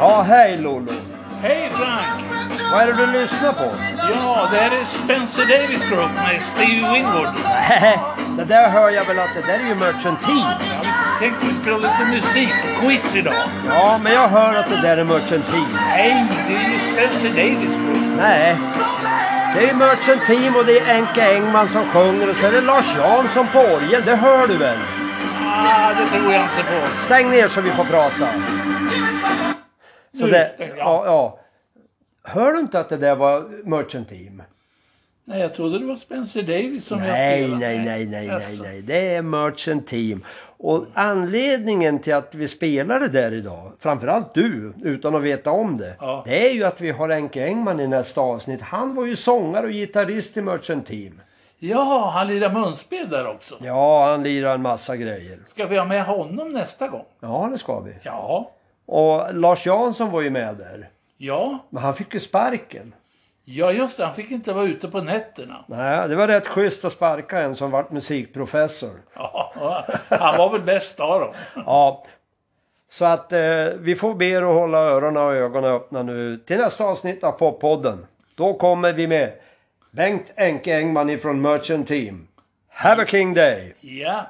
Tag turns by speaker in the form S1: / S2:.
S1: Ja, hej Lollo.
S2: Hej Frank!
S1: Vad är det du lyssnar på?
S2: Ja, det här är Spencer Davis Group med Stevie Winwood.
S1: Nej, det där hör jag väl att det där är ju merchantil.
S2: Ja, vi tänkte vi skulle ha lite musikquiz idag.
S1: Ja, men jag hör att det där är merchantil.
S2: Nej, det är ju Spencer Davis Group.
S1: Nej. Det är merchantil och det är Enke Engman som sjunger och så är det Lars Jansson på orgel, det hör du väl?
S2: Ah, det tror jag inte på.
S1: Stäng ner så vi får prata. Så
S2: Nu
S1: det,
S2: stänger jag.
S1: ja, ja. Hör du inte att det där var merchantil?
S2: Nej, jag trodde det var Spencer Davis som jag
S1: Nej,
S2: spelade.
S1: nej, nej, nej, nej,
S2: Alltså,
S1: nej. Det är Merchant Team. Och anledningen till att vi spelar det där idag, framförallt du, utan att veta om det.
S2: Ja.
S1: Det är ju att vi har Enke Engman i nästa avsnitt. Han var ju sångare och gitarrist i Merchant Team.
S2: Ja, han lirar munspel där också.
S1: Ja, han lirar en massa grejer.
S2: Ska vi ha med honom nästa gång?
S1: Ja, det ska vi.
S2: Ja.
S1: Och Lars Jansson var ju med där.
S2: Ja,
S1: Men han fick ju sparken.
S2: ja just det. Han fick inte vara ute på nätterna.
S1: Nej, det var rätt schysst att sparka en som vart musikprofessor.
S2: Ja, han var väl bäst av dem.
S1: Ja. Så att eh, vi får be er att hålla öronen och ögonen öppna nu till nästa avsnitt av Poppodden. Då kommer vi med Bengt Enke Engman ifrån Merchant Team. Have a King Day!
S2: Ja.